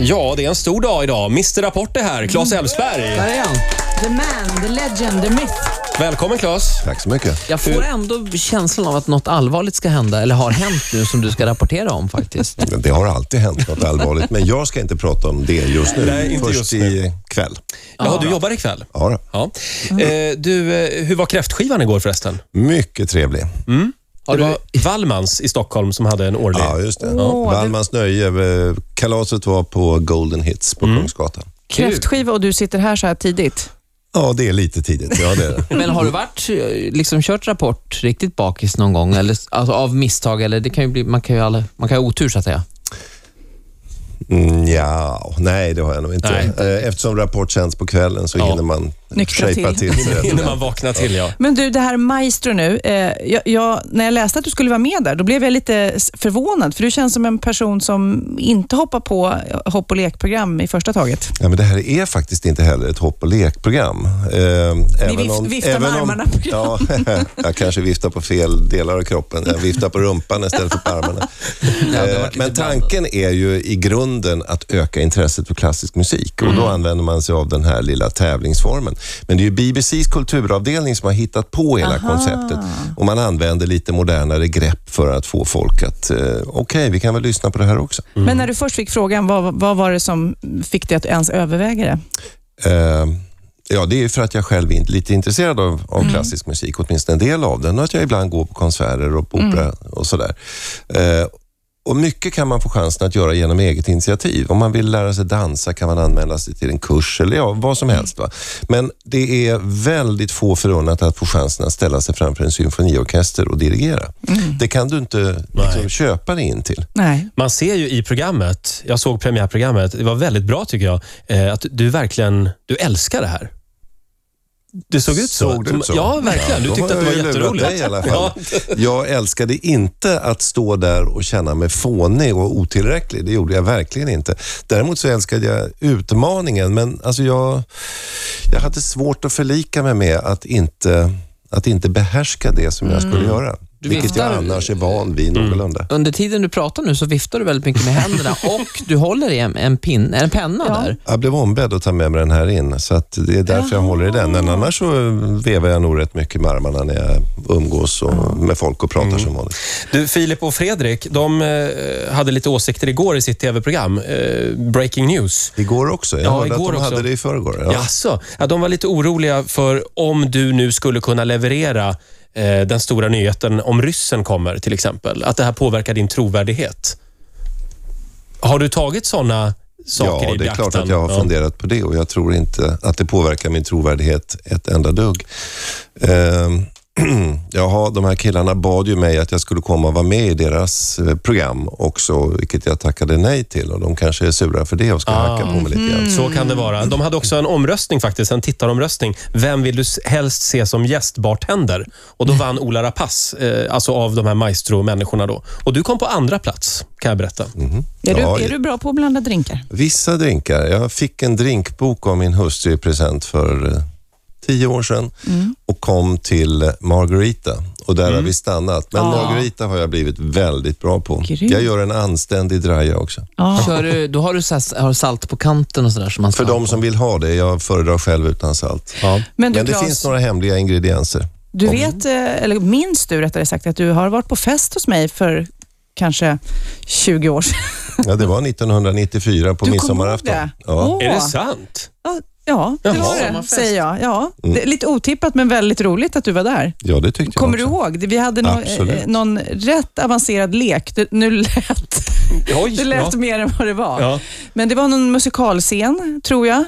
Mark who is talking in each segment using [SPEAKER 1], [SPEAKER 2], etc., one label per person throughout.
[SPEAKER 1] Ja, det är en stor dag idag. Mr Rapport är här, Claes Elfsberg.
[SPEAKER 2] Där är han.
[SPEAKER 3] The man, the legend, the myth.
[SPEAKER 1] Välkommen Claes.
[SPEAKER 4] Tack så mycket.
[SPEAKER 2] Jag får ändå känslan av att något allvarligt ska hända, eller har hänt nu, som du ska rapportera om faktiskt.
[SPEAKER 4] Det har alltid hänt något allvarligt, men jag ska inte prata om det just nu.
[SPEAKER 1] Nej, inte
[SPEAKER 4] Först
[SPEAKER 1] just nu.
[SPEAKER 4] i kväll.
[SPEAKER 1] Ja, du jobbar ikväll.
[SPEAKER 4] Ja, då.
[SPEAKER 1] Ja.
[SPEAKER 4] Mm.
[SPEAKER 1] Eh, du, eh, hur var kräftskivan igår förresten?
[SPEAKER 4] Mycket trevlig.
[SPEAKER 1] det var Wallmans i Stockholm som hade en årlig.
[SPEAKER 4] Ja, just det. Wallmans nöje. eh, Kalaset var på Golden Hits
[SPEAKER 1] Mm.
[SPEAKER 4] på Kungsgatan.
[SPEAKER 3] Kräftskiva och du sitter här så här tidigt.
[SPEAKER 4] Ja, det är lite tidigt. Ja, det är det.
[SPEAKER 2] Men har du varit, eh, liksom kört rapport riktigt bakis någon gång? Eller, alltså, av misstag? Eller det kan ju bli, man kan ju alla, man kan ju ha otur så att säga.
[SPEAKER 4] Mm, ja, nej, det har jag nog inte.
[SPEAKER 1] Nej.
[SPEAKER 4] Eh, Eftersom Rapport sänds på kvällen så
[SPEAKER 1] Ja.
[SPEAKER 4] hinner man
[SPEAKER 5] Nyktra
[SPEAKER 4] shapea
[SPEAKER 5] till.
[SPEAKER 4] till sig.
[SPEAKER 1] Innan
[SPEAKER 4] rätt ordentligt.
[SPEAKER 1] man vaknar till, ja.
[SPEAKER 5] Men du, det här Maestro nu. Eh, jag, jag, när jag läste att du skulle vara med där, då blev jag lite s- förvånad, för du känns som en person som inte hoppar på eh, hopp och lekprogram i första taget.
[SPEAKER 4] Ja, men det här är faktiskt inte heller ett hopp och lekprogram. Eh, även
[SPEAKER 5] vif- viftar med armarna på
[SPEAKER 4] ja, Jag kanske viftar på fel delar av kroppen. Jag viftar på rumpan istället för på armarna.
[SPEAKER 2] hade
[SPEAKER 4] Eh,
[SPEAKER 2] varit lite
[SPEAKER 4] men tanken är ju i grunden att öka intresset för klassisk musik och då
[SPEAKER 5] Mm.
[SPEAKER 4] använder man sig av den här lilla tävlingsformen. Men det är ju BBCs kulturavdelning som har hittat på hela konceptet och man använder lite modernare grepp för att få folk att, eh, okej, vi kan väl lyssna på det här också.
[SPEAKER 5] Men när du först fick frågan, vad, vad var det som fick dig att ens överväga det?
[SPEAKER 4] Eh, ja, det är ju för att jag själv är lite intresserad av, av klassisk musik, åtminstone en del av den, och att jag ibland går på konserter och på opera och sådär. Eh, och mycket kan man få chansen att göra genom eget initiativ. Om man vill lära sig dansa kan man anmäla sig till en kurs eller ja, vad som helst. Va? Men det är väldigt få förunnat att få chansen att ställa sig framför en symfoniorkester och dirigera. Det kan du inte liksom, köpa dig in till.
[SPEAKER 5] Nej.
[SPEAKER 1] Man ser ju i programmet, jag såg premiärprogrammet, det var väldigt bra tycker jag, eh, att du verkligen, du älskar det här. Det såg ut så.
[SPEAKER 4] Såg det ut så?
[SPEAKER 1] Ja, verkligen.
[SPEAKER 4] då
[SPEAKER 1] du tyckte
[SPEAKER 4] har
[SPEAKER 1] att det var
[SPEAKER 4] jag ju lurat
[SPEAKER 1] jätteroligt.
[SPEAKER 4] dig I alla fall.
[SPEAKER 1] Ja.
[SPEAKER 4] Jag älskade inte att stå där och känna mig fånig och otillräcklig. Det gjorde jag verkligen inte. Däremot så älskade jag utmaningen, men alltså jag, jag hade svårt att förlika mig med att inte, att inte behärska det som jag
[SPEAKER 1] Mm.
[SPEAKER 4] skulle göra. Vilket jag
[SPEAKER 2] viftar-
[SPEAKER 4] annars är van vid någorlunda.
[SPEAKER 2] Under tiden du pratar nu så viftar du väldigt mycket med händerna och du håller i en, en, pin, en penna där.
[SPEAKER 4] Jag blev ombedd att ta med mig den här in, så att det är därför jag håller i den. Men annars så vevar jag nog rätt mycket med armarna när jag umgås och, med folk och pratar
[SPEAKER 1] Mm.
[SPEAKER 4] som vanligt.
[SPEAKER 1] Du, Filip och Fredrik, de eh, hade lite åsikter igår i sitt tv-program, eh, Breaking News.
[SPEAKER 4] Igår också? Jag
[SPEAKER 1] Ja,
[SPEAKER 4] hörde
[SPEAKER 1] igår
[SPEAKER 4] att de
[SPEAKER 1] också.
[SPEAKER 4] hade det i förrgår. Ja.
[SPEAKER 1] Jaså? Ja, de var lite oroliga för om du nu skulle kunna leverera eh, den stora nyheten om ryssen kommer till exempel. Att det här påverkar din trovärdighet. Har du tagit såna saker
[SPEAKER 4] ja,
[SPEAKER 1] i
[SPEAKER 4] det är
[SPEAKER 1] beaktan?
[SPEAKER 4] klart att jag har funderat på det och jag tror inte att det påverkar min trovärdighet ett enda dugg. Ehm, Jaha, de här killarna bad ju mig att jag skulle komma och vara med i deras eh, program också, vilket jag tackade nej till och de kanske är sura för det och ska hacka
[SPEAKER 1] Ah,
[SPEAKER 4] på mig lite grann.
[SPEAKER 1] Så kan det vara. De hade också en omröstning faktiskt, en tittaromröstning. Vem vill du s- helst se som gästbartender? Och då vann Ola Rapace, eh, alltså av de här maestro-människorna då. Och du kom på andra plats, kan jag berätta.
[SPEAKER 5] Är,
[SPEAKER 4] Ja,
[SPEAKER 5] du, är
[SPEAKER 4] ja.
[SPEAKER 5] du bra på att blanda drinkar?
[SPEAKER 4] Vissa drinkar. Jag fick en drinkbok av min hustru i present för eh, tio år sedan och kom till Margarita och där
[SPEAKER 5] Mm.
[SPEAKER 4] har vi stannat. Men Margarita har jag blivit väldigt bra på.
[SPEAKER 5] Grymt.
[SPEAKER 4] Jag gör en anständig draja också.
[SPEAKER 5] Ja.
[SPEAKER 2] Kör du, då har du så här, har du salt på kanten och sådär. som man ska ha
[SPEAKER 4] För de
[SPEAKER 2] på.
[SPEAKER 4] som vill ha det, jag föredrar själv utan salt.
[SPEAKER 1] Ja.
[SPEAKER 5] Men du,
[SPEAKER 4] Men det
[SPEAKER 5] Claes,
[SPEAKER 4] finns några hemliga ingredienser.
[SPEAKER 5] du vet, eh, eller minns du rättare sagt, att du har varit på fest hos mig för kanske 20 år sedan?
[SPEAKER 4] Ja, det var 1994 på
[SPEAKER 5] Du kommer ihåg
[SPEAKER 4] midsommarafton.
[SPEAKER 5] det? Oh.
[SPEAKER 4] Ja.
[SPEAKER 5] Åh.
[SPEAKER 1] Är det sant?
[SPEAKER 5] Ja, Ja, det
[SPEAKER 1] Jaha.
[SPEAKER 5] var det,
[SPEAKER 2] Sommarfest.
[SPEAKER 5] säger jag. Ja,
[SPEAKER 4] Mm.
[SPEAKER 5] det är lite otippat, men väldigt roligt att du var där.
[SPEAKER 4] ja, det tyckte
[SPEAKER 5] Kommer du
[SPEAKER 4] jag också.
[SPEAKER 5] ihåg? Vi hade nå-
[SPEAKER 4] Absolut.
[SPEAKER 5] eh, någon rätt avancerad lek. Det, nu lät
[SPEAKER 1] Oj,
[SPEAKER 5] det lät
[SPEAKER 1] ja.
[SPEAKER 5] mer än vad det var.
[SPEAKER 1] Ja.
[SPEAKER 5] Men det var någon musikalscen, tror jag.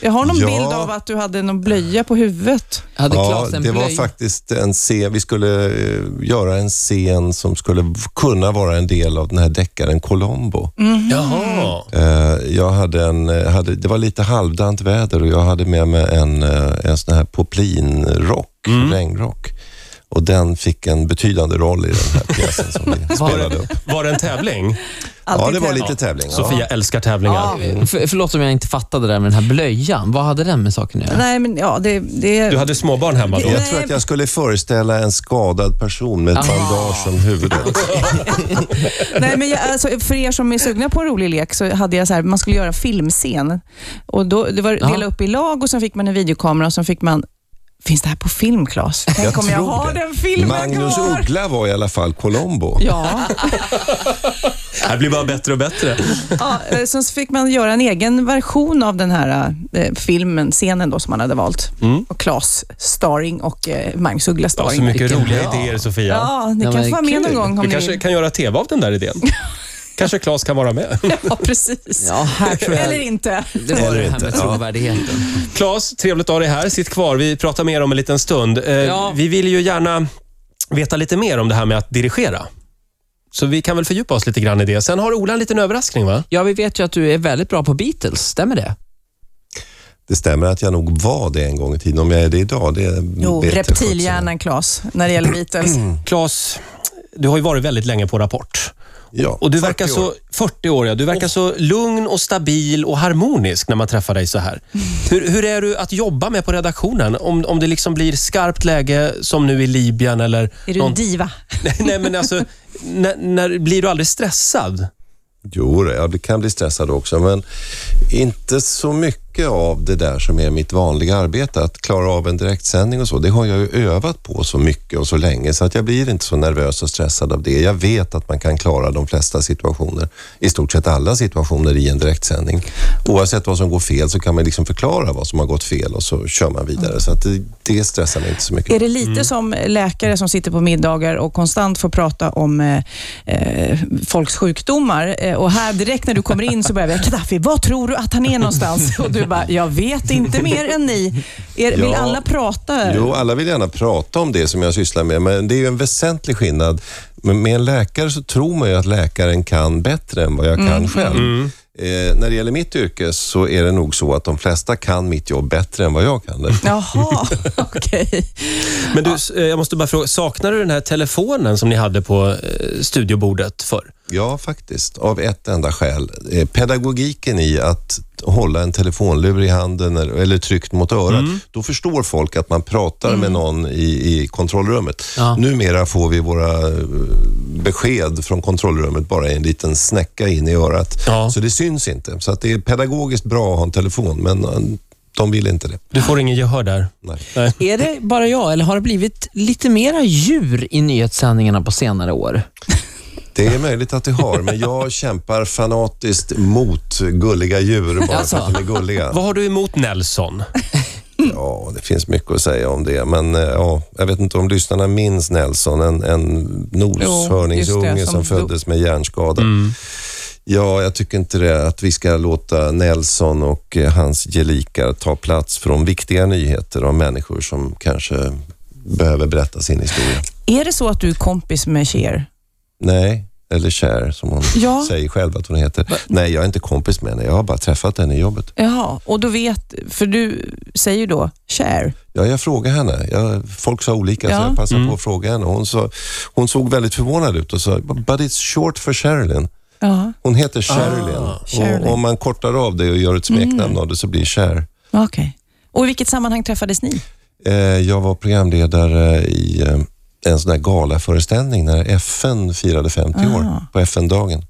[SPEAKER 5] Jag har någon
[SPEAKER 4] Ja.
[SPEAKER 5] bild av att du hade någon blöja på huvudet.
[SPEAKER 2] Hade
[SPEAKER 4] Ja,
[SPEAKER 2] Claes en
[SPEAKER 4] det var
[SPEAKER 2] blöj?
[SPEAKER 4] faktiskt en scen, vi skulle eh, göra en scen som skulle v- kunna vara en del av den här deckaren Colombo.
[SPEAKER 1] Jaha.
[SPEAKER 4] Eh, Jag hade en, eh, hade, det var lite halvdant väder och jag hade med mig en, eh, en sån här poplinrock, regnrock. Och den fick en betydande roll i den här pjäsen som vi spelade upp.
[SPEAKER 1] Var det en tävling?
[SPEAKER 4] Ja, det var
[SPEAKER 5] tävling.
[SPEAKER 4] lite tävling. ja.
[SPEAKER 1] Sofia älskar tävlingar.
[SPEAKER 2] För, förlåt om jag inte fattade det där med den här blöjan. Vad hade den med saken att göra?
[SPEAKER 5] Nej, men ja, det, det
[SPEAKER 1] Du hade småbarn hemma då?
[SPEAKER 4] Jag tror att jag skulle föreställa en skadad person med ett bandage om huvudet.
[SPEAKER 5] Nej, men jag, alltså, för er som är sugna på en rolig lek så hade jag så här, man skulle göra filmscen. Och då, det var
[SPEAKER 2] Ja.
[SPEAKER 5] dela upp i lag och sen fick man en videokamera och sen fick man Finns det här på film, Claes? Tänk om jag
[SPEAKER 4] tror
[SPEAKER 5] har
[SPEAKER 4] det.
[SPEAKER 5] den filmen
[SPEAKER 4] Magnus
[SPEAKER 5] kvar?
[SPEAKER 4] Uggla var i alla fall Colombo.
[SPEAKER 5] Ja.
[SPEAKER 1] Det här blir bara bättre och bättre.
[SPEAKER 5] ja, eh, sen så fick man göra en egen version av den här eh, filmen, scenen då som man hade valt. Och Claes starring och eh, Magnus Uggla
[SPEAKER 1] Ja,
[SPEAKER 5] starring.
[SPEAKER 1] så mycket
[SPEAKER 2] Vilken
[SPEAKER 1] roliga
[SPEAKER 2] bra.
[SPEAKER 1] idéer, Sofia.
[SPEAKER 5] Ja, ni
[SPEAKER 2] Ja,
[SPEAKER 5] kan
[SPEAKER 2] men
[SPEAKER 5] få vara med
[SPEAKER 2] kul.
[SPEAKER 5] någon gång om
[SPEAKER 1] Vi
[SPEAKER 5] ni
[SPEAKER 1] kanske kan göra TV av den där idén. Kanske Claes kan vara med.
[SPEAKER 5] Ja, precis.
[SPEAKER 2] Ja, här tror jag...
[SPEAKER 5] Eller inte.
[SPEAKER 2] Det var det här
[SPEAKER 4] inte.
[SPEAKER 2] med
[SPEAKER 4] Ja.
[SPEAKER 2] trovärdigheten.
[SPEAKER 1] Claes, trevligt att ha dig här. Sitt kvar. Vi pratar mer om en liten stund. Eh,
[SPEAKER 2] Ja.
[SPEAKER 1] Vi vill ju gärna veta lite mer om det här med att dirigera. Så vi kan väl fördjupa oss lite grann i det. Sen har Ola en liten överraskning, va?
[SPEAKER 2] Ja, vi vet ju att du är väldigt bra på Beatles. Stämmer det?
[SPEAKER 4] Det stämmer att jag nog var det en gång i tiden. Om jag är det idag, det
[SPEAKER 5] Jo,
[SPEAKER 4] vet jag
[SPEAKER 5] reptilhjärnan Claes, när det gäller Beatles.
[SPEAKER 1] Claes, du har ju varit väldigt länge på Rapport.
[SPEAKER 4] sjutton. Ja,
[SPEAKER 1] Och du verkar
[SPEAKER 4] 40
[SPEAKER 1] så...
[SPEAKER 4] år.
[SPEAKER 1] 40 år, ja. Du verkar så lugn och stabil och harmonisk när man träffar dig så här. Hur, hur är du att jobba med på redaktionen? Om, om det liksom blir skarpt läge, som nu i Libyen eller...
[SPEAKER 5] Är du en
[SPEAKER 1] någon-
[SPEAKER 5] diva?
[SPEAKER 1] Nej, nej, men alltså, när, när, blir du aldrig stressad?
[SPEAKER 4] Jo, jag kan bli stressad också, men inte så mycket av det där som är mitt vanliga arbete. Att klara av en direktsändning och så, det har jag ju övat på så mycket och så länge, så att jag blir inte så nervös och stressad av det. Jag vet att man kan klara de flesta situationer, i stort sett alla situationer i en direktsändning. Oavsett vad som går fel så kan man liksom förklara vad som har gått fel och så kör man vidare. Så att det, det stressar mig inte så mycket.
[SPEAKER 5] Mm. Är det lite som läkare som sitter på middagar och konstant får prata om eh, eh, folks sjukdomar eh, och här direkt när du kommer in så börjar vi, Gaddafi, vad tror du att han är någonstans? Och du bara, jag vet inte mer än ni. Er, Vill
[SPEAKER 4] Ja.
[SPEAKER 5] alla prata?
[SPEAKER 4] Jo, alla vill gärna prata om det som jag sysslar med, men det är ju en väsentlig skillnad. Men med en läkare så tror man ju att läkaren kan bättre än vad jag kan själv. Eh, när det gäller mitt yrke så är det nog så att de flesta kan mitt jobb bättre än vad jag kan det.
[SPEAKER 5] Jaha, okej.
[SPEAKER 1] Men du, eh, jag måste bara fråga, saknar du den här telefonen som ni hade på eh, studiobordet förr?
[SPEAKER 4] Ja, faktiskt. Av ett enda skäl. Eh, Pedagogiken i att hålla en telefonlur i handen eller, eller tryckt mot örat.
[SPEAKER 1] Mm.
[SPEAKER 4] Då förstår folk att man pratar med någon i, i kontrollrummet.
[SPEAKER 2] Ja.
[SPEAKER 4] Numera får vi våra eh, besked från kontrollrummet bara i en liten snäcka in i örat.
[SPEAKER 1] Ja.
[SPEAKER 4] Så det syns inte. Så att det är pedagogiskt bra att ha en telefon, men eh, de vill inte det.
[SPEAKER 1] Du får ingen gehör där.
[SPEAKER 4] Nej.
[SPEAKER 1] Nej.
[SPEAKER 2] Är det bara jag, eller har det blivit lite mera djur i nyhetssändningarna på senare år?
[SPEAKER 4] Det är möjligt att det har, men jag kämpar fanatiskt mot gulliga djur bara
[SPEAKER 2] Alltså.
[SPEAKER 4] för att de är gulliga.
[SPEAKER 1] Vad har du emot Nelson?
[SPEAKER 4] Ja, det finns mycket att säga om det, men eh, ja, jag vet inte om lyssnarna minns Nelson, en, en
[SPEAKER 5] Jo, just
[SPEAKER 4] noshörningsunge
[SPEAKER 5] det, som
[SPEAKER 4] som föddes med hjärnskada. Ja, jag tycker inte det, att vi ska låta Nelson och eh, hans gelikar ta plats från viktiga nyheter av människor som kanske behöver berätta sin historia.
[SPEAKER 5] Är det så att du är kompis med Cher?
[SPEAKER 4] Nej, eller Cher som hon
[SPEAKER 5] Ja.
[SPEAKER 4] säger själv att hon heter. Nej, jag är inte kompis med henne, jag har bara träffat henne i jobbet.
[SPEAKER 5] Jaha, och då vet, för du säger ju då Cher.
[SPEAKER 4] Ja, jag frågade henne. Jag, folk sa olika, så
[SPEAKER 5] Ja. Mm.
[SPEAKER 4] jag passade på att fråga henne. Hon, sa, hon såg väldigt förvånad ut och sa, “But it's short for Sherilyn”.
[SPEAKER 5] Ja,
[SPEAKER 4] Hon heter Sherilyn.
[SPEAKER 5] Ah, Sherilyn. Mm.
[SPEAKER 4] Och om man kortar av det och gör ett smeknamn av det så blir Cher.
[SPEAKER 5] okej. Och i vilket sammanhang träffades ni?
[SPEAKER 4] Eh, jag var programledare i eh, en sån där galaföreställning när FN firade 50 år, på FN-dagen.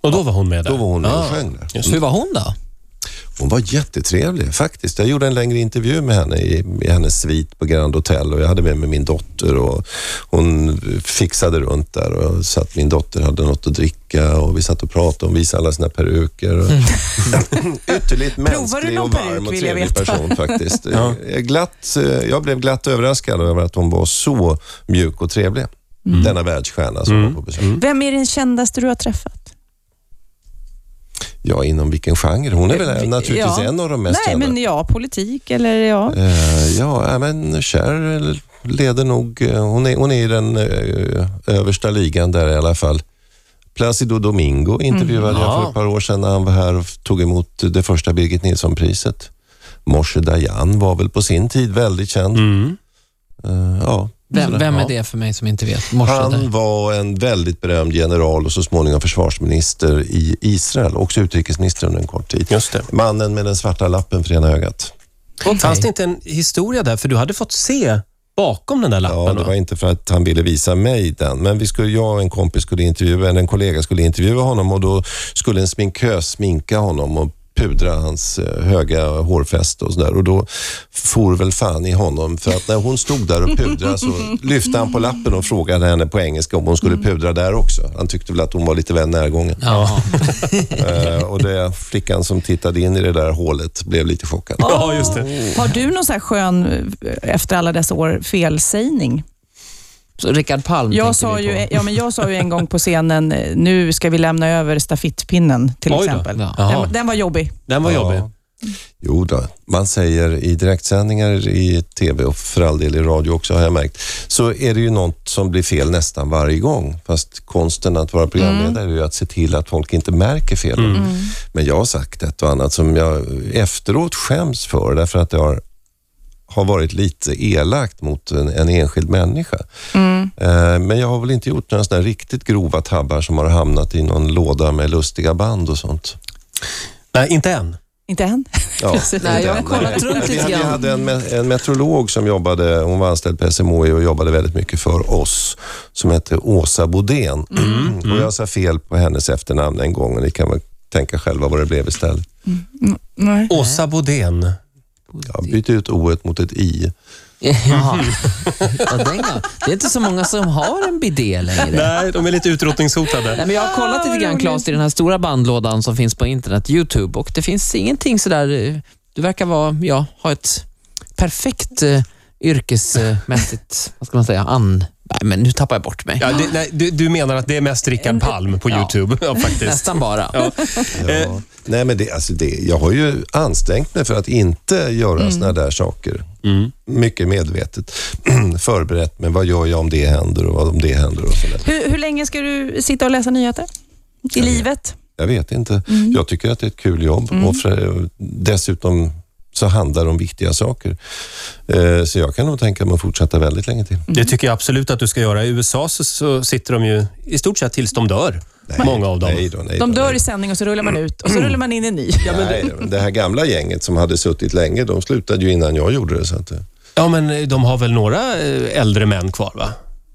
[SPEAKER 1] Och då var hon med där.
[SPEAKER 4] Då var hon med och
[SPEAKER 1] Ah.
[SPEAKER 4] sjöng där.
[SPEAKER 2] Så hur var hon då?
[SPEAKER 4] Hon var jättetrevlig faktiskt. Jag gjorde en längre intervju med henne i, i hennes svit på Grand Hotel och jag hade med mig min dotter och hon fixade runt där och så att min dotter hade något att dricka och vi satt och pratade. Hon visade alla sina peruker. Och... Ytterligt mänsklig
[SPEAKER 5] någon
[SPEAKER 4] och varm
[SPEAKER 5] peruk,
[SPEAKER 4] och
[SPEAKER 5] vill jag
[SPEAKER 4] trevlig
[SPEAKER 5] veta?
[SPEAKER 4] person faktiskt. Jag är glatt, eh, jag blev glatt överraskad över att hon var så mjuk och trevlig. Denna världsstjärna som var på besök.
[SPEAKER 5] Vem är den kändaste du har träffat?
[SPEAKER 4] Ja, inom vilken genre? Hon är väl
[SPEAKER 5] Vi-
[SPEAKER 4] naturligtvis
[SPEAKER 5] ja.
[SPEAKER 4] en av de mest
[SPEAKER 5] Nej,
[SPEAKER 4] kända.
[SPEAKER 5] men ja, politik eller ja.
[SPEAKER 4] Eh, ja, äh, men Cher leder nog... eh, Hon är, hon är i den eh, översta ligan där i alla fall. Placido Domingo intervjuade jag för ett par år sedan när han var här och tog emot det första Birgit
[SPEAKER 1] Mm,
[SPEAKER 4] Nilsson-priset. Morse Dayan var väl på sin tid väldigt känd. Eh, ja,
[SPEAKER 2] Vem, vem
[SPEAKER 4] Ja.
[SPEAKER 2] är det för mig som inte vet? Morsa
[SPEAKER 4] Han
[SPEAKER 2] där.
[SPEAKER 4] var en väldigt berömd general och så småningom försvarsminister i Israel. Också utrikesminister under en kort tid.
[SPEAKER 1] Just det.
[SPEAKER 4] Mannen med den svarta lappen för ena ögat.
[SPEAKER 1] Fanns det inte en historia där? För du hade fått se bakom den där lappen.
[SPEAKER 4] Ja, det
[SPEAKER 1] va?
[SPEAKER 4] var inte för att han ville visa mig den, men vi skulle, jag och en kompis skulle intervjua, eller en kollega skulle intervjua honom och då skulle en sminkös sminka honom och pudra hans eh, höga hårfäste och sådär. Och då for väl fan i honom för att när hon stod där och pudrade så lyfte han på lappen och frågade henne på engelska om hon skulle pudra där också. Han tyckte väl att hon var lite väl närgången.
[SPEAKER 2] Ja.
[SPEAKER 4] Eh, och det, flickan som tittade in i det där hålet blev lite chockad.
[SPEAKER 1] Ja, just det.
[SPEAKER 5] Har du någon sån här skön, eh, efter alla dessa år, felsägning?
[SPEAKER 2] Så Rickard Palm
[SPEAKER 5] Jag
[SPEAKER 2] tänkte
[SPEAKER 5] sa,
[SPEAKER 2] vi
[SPEAKER 5] ju,
[SPEAKER 2] på.
[SPEAKER 5] ja, men jag sa ju en gång på scenen, eh, nu ska vi lämna över stafettpinnen till
[SPEAKER 1] Oj då.
[SPEAKER 5] exempel.
[SPEAKER 2] Ja.
[SPEAKER 1] Jaha.
[SPEAKER 5] Den, den var jobbig.
[SPEAKER 1] Den var
[SPEAKER 4] Ja.
[SPEAKER 1] jobbig.
[SPEAKER 4] Jo då, man säger i direktsändningar i tv och för all del i radio också har jag märkt, så är det ju något som blir fel nästan varje gång. Fast konsten att vara programledare är ju att se till att folk inte märker fel. Men jag har sagt ett och annat som jag efteråt skäms för därför att det har, har varit lite elakt mot en, en enskild människa. Eh, Men jag har väl inte gjort några sådana riktigt grova tabbar som har hamnat i någon låda med lustiga band och sånt.
[SPEAKER 1] Nej, inte än.
[SPEAKER 5] Inte än.
[SPEAKER 4] Ja,
[SPEAKER 5] Precis.
[SPEAKER 2] Nej, jag
[SPEAKER 4] den-
[SPEAKER 2] har kollat runt
[SPEAKER 4] Vi
[SPEAKER 2] lite
[SPEAKER 4] hade, vi
[SPEAKER 2] grann.
[SPEAKER 4] hade en, me- en meteorolog som jobbade, hon var anställd på SMHI och jobbade väldigt mycket för oss, som hette Åsa Bodén.
[SPEAKER 2] Mm.
[SPEAKER 4] Och jag sa fel på hennes efternamn en gång och ni kan väl tänka själva vad det blev istället.
[SPEAKER 5] Nej.
[SPEAKER 1] Åsa Bodén.
[SPEAKER 4] Jag bytte ut o mot ett i.
[SPEAKER 2] Jaha. Ja, den gamla. det är inte så många som har en bidé längre.
[SPEAKER 1] Nej, de är lite utrotningshotade.
[SPEAKER 2] Nej, men jag har kollat lite grann Claes i den här stora bandlådan som finns på internet, Youtube, och det finns ingenting sådär... eh, Du verkar vara, ja, ha ett perfekt eh, yrkesmässigt, vad ska man säga, an... Nej, men nu tappar jag bort mig.
[SPEAKER 1] Ja, det, nej, du, du menar att det är mest Rickard Palm på
[SPEAKER 2] Ja.
[SPEAKER 1] Youtube? Ja, faktiskt.
[SPEAKER 2] Nästan bara.
[SPEAKER 1] Eh,
[SPEAKER 4] Nej, men det, alltså det, jag har ju ansträngt mig för att inte göra mm. såna där saker.
[SPEAKER 1] Mm.
[SPEAKER 4] Mycket medvetet. Förberett mig. Vad gör jag om det händer och vad om det händer och sådär.
[SPEAKER 5] Hur, hur länge ska du sitta och läsa nyheter? I livet? Mm.
[SPEAKER 4] Jag vet inte. Jag tycker att det är ett kul jobb och för, eh, dessutom så handlar det om viktiga saker. Eh, Så jag kan nog tänka mig att fortsätta väldigt länge till.
[SPEAKER 1] Det tycker jag absolut att du ska göra. I USA så, så sitter de ju i stort sett tills de dör. Många av dem.
[SPEAKER 4] Nej då, nej
[SPEAKER 5] De
[SPEAKER 4] då,
[SPEAKER 5] dör
[SPEAKER 4] nej.
[SPEAKER 5] i sändning och så rullar man ut och så rullar man in en ny.
[SPEAKER 4] Nej, då. det här gamla gänget som hade suttit länge, de slutade ju innan jag gjorde det. Så att, eh,
[SPEAKER 1] Ja, men eh, de har väl några eh, äldre män kvar, va?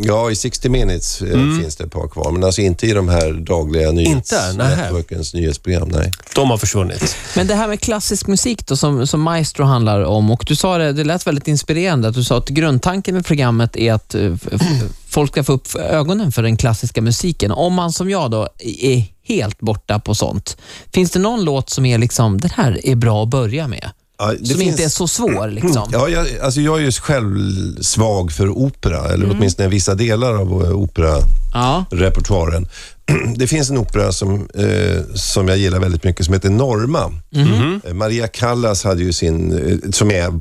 [SPEAKER 4] ja, i 60 minutes eh, finns det ett par kvar, men alltså inte i de här dagliga
[SPEAKER 1] Inte? Nähä.
[SPEAKER 4] nyhetsnätverkens nyhetsprogram. Nej.
[SPEAKER 1] De har försvunnit.
[SPEAKER 2] Men det här med klassisk musik då, som, som Maestro handlar om, och du sa det, det lät väldigt inspirerande, att du sa att grundtanken med programmet är att eh, f- f- folk ska få upp ögonen för den klassiska musiken. Om man som jag då är helt borta på sånt, finns det någon låt som är liksom, den här är bra att börja med?
[SPEAKER 4] Ja,
[SPEAKER 2] som
[SPEAKER 4] det finns-
[SPEAKER 2] inte är så svår liksom?
[SPEAKER 4] Ja, jag, alltså jag är ju själv svag för opera, eller åtminstone vissa delar av eh, opera
[SPEAKER 2] Ja.
[SPEAKER 4] repertoaren. Det finns en opera som, eh, som jag gillar väldigt mycket som heter Norma. Eh, Maria Callas hade ju sin, eh, som är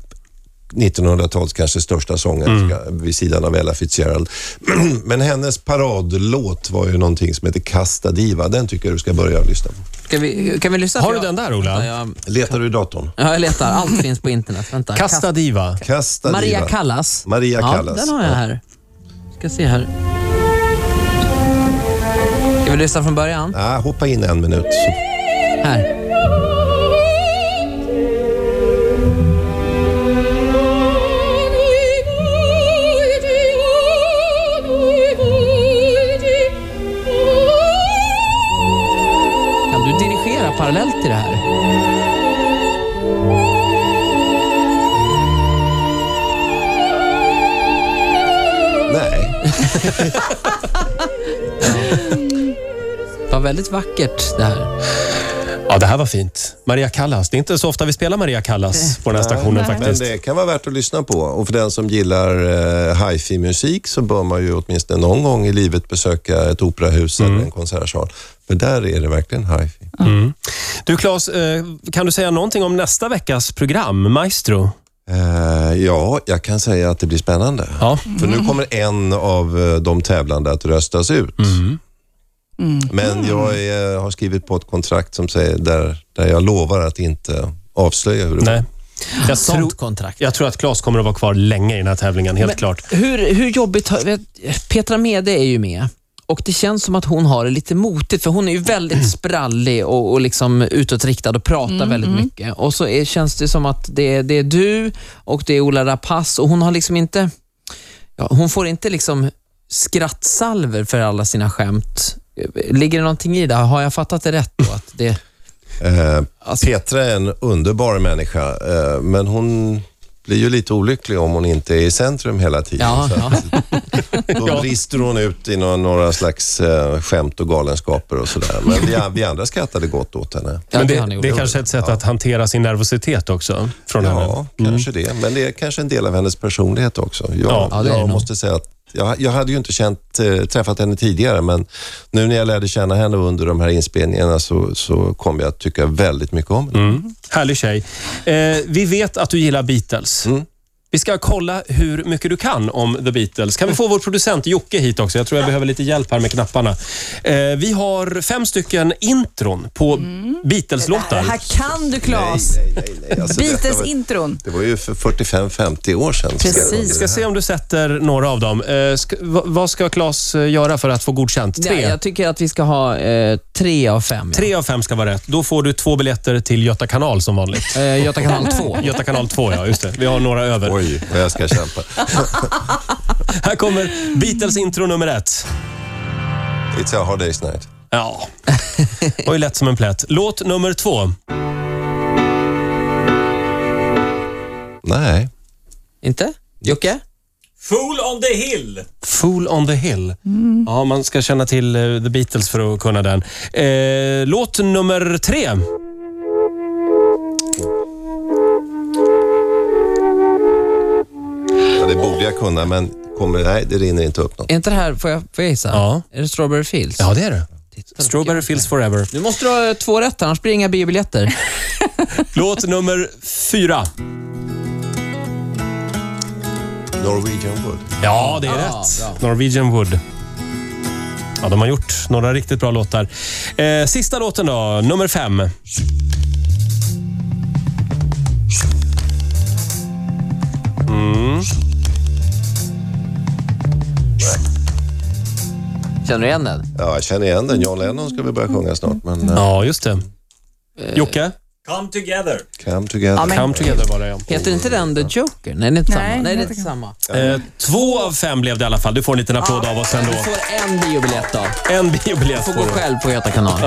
[SPEAKER 4] 1900-talets kanske största sångerska vid sidan av Ella Fitzgerald. Men hennes paradlåt var ju någonting som heter Casta Diva. Den tycker jag du ska börja lyssna på.
[SPEAKER 2] Ska vi, kan vi lyssna?
[SPEAKER 1] Har
[SPEAKER 2] på-
[SPEAKER 1] du den där, Ola?
[SPEAKER 2] Vänta, Jag,
[SPEAKER 4] Letar du i datorn?
[SPEAKER 2] ja, jag letar. Allt finns på internet. Vänta.
[SPEAKER 1] Kasta diva.
[SPEAKER 4] Casta
[SPEAKER 2] Maria
[SPEAKER 4] Diva.
[SPEAKER 2] Callas.
[SPEAKER 4] Maria Callas.
[SPEAKER 2] Ja, den har jag här. Ska se här. Ska vi lyssna från början?
[SPEAKER 4] Ah, hoppa in en minut.
[SPEAKER 2] Här. Kan du dirigera parallellt till det här?
[SPEAKER 4] Nej.
[SPEAKER 2] Det var väldigt vackert det här.
[SPEAKER 1] Ja, det här var fint. Maria Callas. Det är inte så ofta vi spelar Maria Callas på den här stationen faktiskt.
[SPEAKER 4] Men det kan vara värt att lyssna på. Och för den som gillar eh, hifi-musik så bör man ju åtminstone någon gång i livet besöka ett operahus
[SPEAKER 1] Mm.
[SPEAKER 4] eller en konsertsal. För där är det verkligen hifi.
[SPEAKER 1] Du, Claes, eh, kan du säga någonting om nästa veckas program, Maestro?
[SPEAKER 4] Eh, ja, jag kan säga att det blir spännande.
[SPEAKER 1] Ja.
[SPEAKER 4] För nu kommer en av eh, de tävlande att röstas ut.
[SPEAKER 1] Mm.
[SPEAKER 4] Men jag är, har skrivit på ett kontrakt som säger där, där jag lovar att inte avslöja hur det går.
[SPEAKER 1] Nej. Jag,
[SPEAKER 2] Sånt
[SPEAKER 1] tror-
[SPEAKER 2] kontrakt.
[SPEAKER 1] jag tror att Claes kommer att vara kvar länge i den här tävlingen, helt klart.
[SPEAKER 2] Hur, hur jobbigt har... vet- Petra Mede är ju med och det känns som att hon har det lite motigt för hon är ju väldigt sprallig och, och liksom utåtriktad och pratar väldigt mycket. Och så är, känns det som att det är, det är du och det är Ola Rapace och hon har liksom inte... Ja, hon får inte liksom skrattsalver för alla sina skämt. Ligger det någonting i det? Har jag fattat det rätt då? Att det,
[SPEAKER 4] Eh,
[SPEAKER 2] Alltså-
[SPEAKER 4] Petra är en underbar människa, eh, men hon blir ju lite olycklig om hon inte är i centrum hela tiden.
[SPEAKER 2] ja,
[SPEAKER 4] så att
[SPEAKER 2] ja.
[SPEAKER 4] Då brister hon ut i några, några slags eh, skämt och galenskaper och sådär. Men vi, vi andra skrattade gott åt henne.
[SPEAKER 2] Ja,
[SPEAKER 1] Men
[SPEAKER 2] det
[SPEAKER 1] det,
[SPEAKER 2] har ni gjort.
[SPEAKER 1] det är kanske ett sätt att hantera sin nervositet också. Från henne.
[SPEAKER 4] Ja, kanske det. Men det är kanske en del av hennes personlighet också. Jag,
[SPEAKER 1] Ja,
[SPEAKER 2] Mm. ja, det är det
[SPEAKER 4] jag
[SPEAKER 2] nog.
[SPEAKER 4] måste säga att jag, jag hade ju inte känt, eh, träffat henne tidigare, men nu när jag lärde känna henne under de här inspelningarna så, så kom jag att tycka väldigt mycket om
[SPEAKER 2] Mm.
[SPEAKER 4] henne.
[SPEAKER 1] Härlig tjej. Eh, vi vet att du gillar Beatles. Vi ska kolla hur mycket du kan om The Beatles. Kan vi få vår producent Jocke hit också? Jag tror jag behöver lite hjälp här med knapparna. Eh, vi har fem stycken intron på
[SPEAKER 5] Mm. Det
[SPEAKER 1] Beatles-låtar.
[SPEAKER 5] här kan du Claes.
[SPEAKER 4] Nej, nej, nej. Alltså, detta var-
[SPEAKER 5] Beatles-intron.
[SPEAKER 4] Det var ju för 45-50 år sedan.
[SPEAKER 5] Precis.
[SPEAKER 1] Vi ska se om du sätter några av dem. Eh, ska, va- vad ska Claes eh, göra för att få godkänt?
[SPEAKER 2] Nej,
[SPEAKER 1] Tre.
[SPEAKER 2] jag tycker att vi ska ha eh, tre av fem. Ja.
[SPEAKER 1] Tre av fem ska vara rätt. Då får du två biljetter till Göta kanal som vanligt.
[SPEAKER 2] Eh, Göta kanal 2.
[SPEAKER 1] Göta kanal 2, ja. Just det. Vi har några över.
[SPEAKER 4] Oj, vad jag ska kämpa.
[SPEAKER 1] Här kommer Beatles intro nummer ett.
[SPEAKER 4] It's a hard day's night.
[SPEAKER 1] Ja, det var ju lätt som en plätt. Låt nummer två.
[SPEAKER 4] Nej.
[SPEAKER 2] Inte? Jocke?
[SPEAKER 1] Fool on the hill. Fool on the hill. Ja, man ska känna till eh, The Beatles för att kunna den. Eh, låt nummer tre.
[SPEAKER 4] Ja, det borde jag kunna, men kommer, nej, det rinner inte upp något.
[SPEAKER 2] Är inte det här, får jag, får jag gissa?
[SPEAKER 1] Ja.
[SPEAKER 2] Är det Strawberry Fields?
[SPEAKER 1] Ja, det är det. Strawberry Fields Forever.
[SPEAKER 2] Nu måste du ha eh, två rätt, annars blir det inga biobiljetter.
[SPEAKER 1] Låt nummer fyra.
[SPEAKER 4] Norwegian Wood.
[SPEAKER 1] Ja, det är
[SPEAKER 2] Ja,
[SPEAKER 1] rätt. Norwegian Wood. Ja, de har gjort några riktigt bra låtar. Eh, sista låten då, nummer fem.
[SPEAKER 2] Känner du igen den?
[SPEAKER 4] Ja, jag känner igen den. John Lennon ska vi börja sjunga snart, men eh,
[SPEAKER 1] Ja, just det. Jocke?
[SPEAKER 6] Come together.
[SPEAKER 4] Come Together.
[SPEAKER 1] Come together var det, ja.
[SPEAKER 2] Heter inte den The Joker? Nej, det är inte
[SPEAKER 5] Nej,
[SPEAKER 2] samma. Nej, det är
[SPEAKER 5] jag
[SPEAKER 2] inte
[SPEAKER 5] tycker-
[SPEAKER 2] samma.
[SPEAKER 1] Eh, två av fem blev det i alla fall. Du får en liten applåd av oss ändå.
[SPEAKER 2] Du får en biobiljett då.
[SPEAKER 1] En biobiljett
[SPEAKER 2] Får
[SPEAKER 1] får
[SPEAKER 2] gå
[SPEAKER 1] du.
[SPEAKER 2] själv på Göta kanal.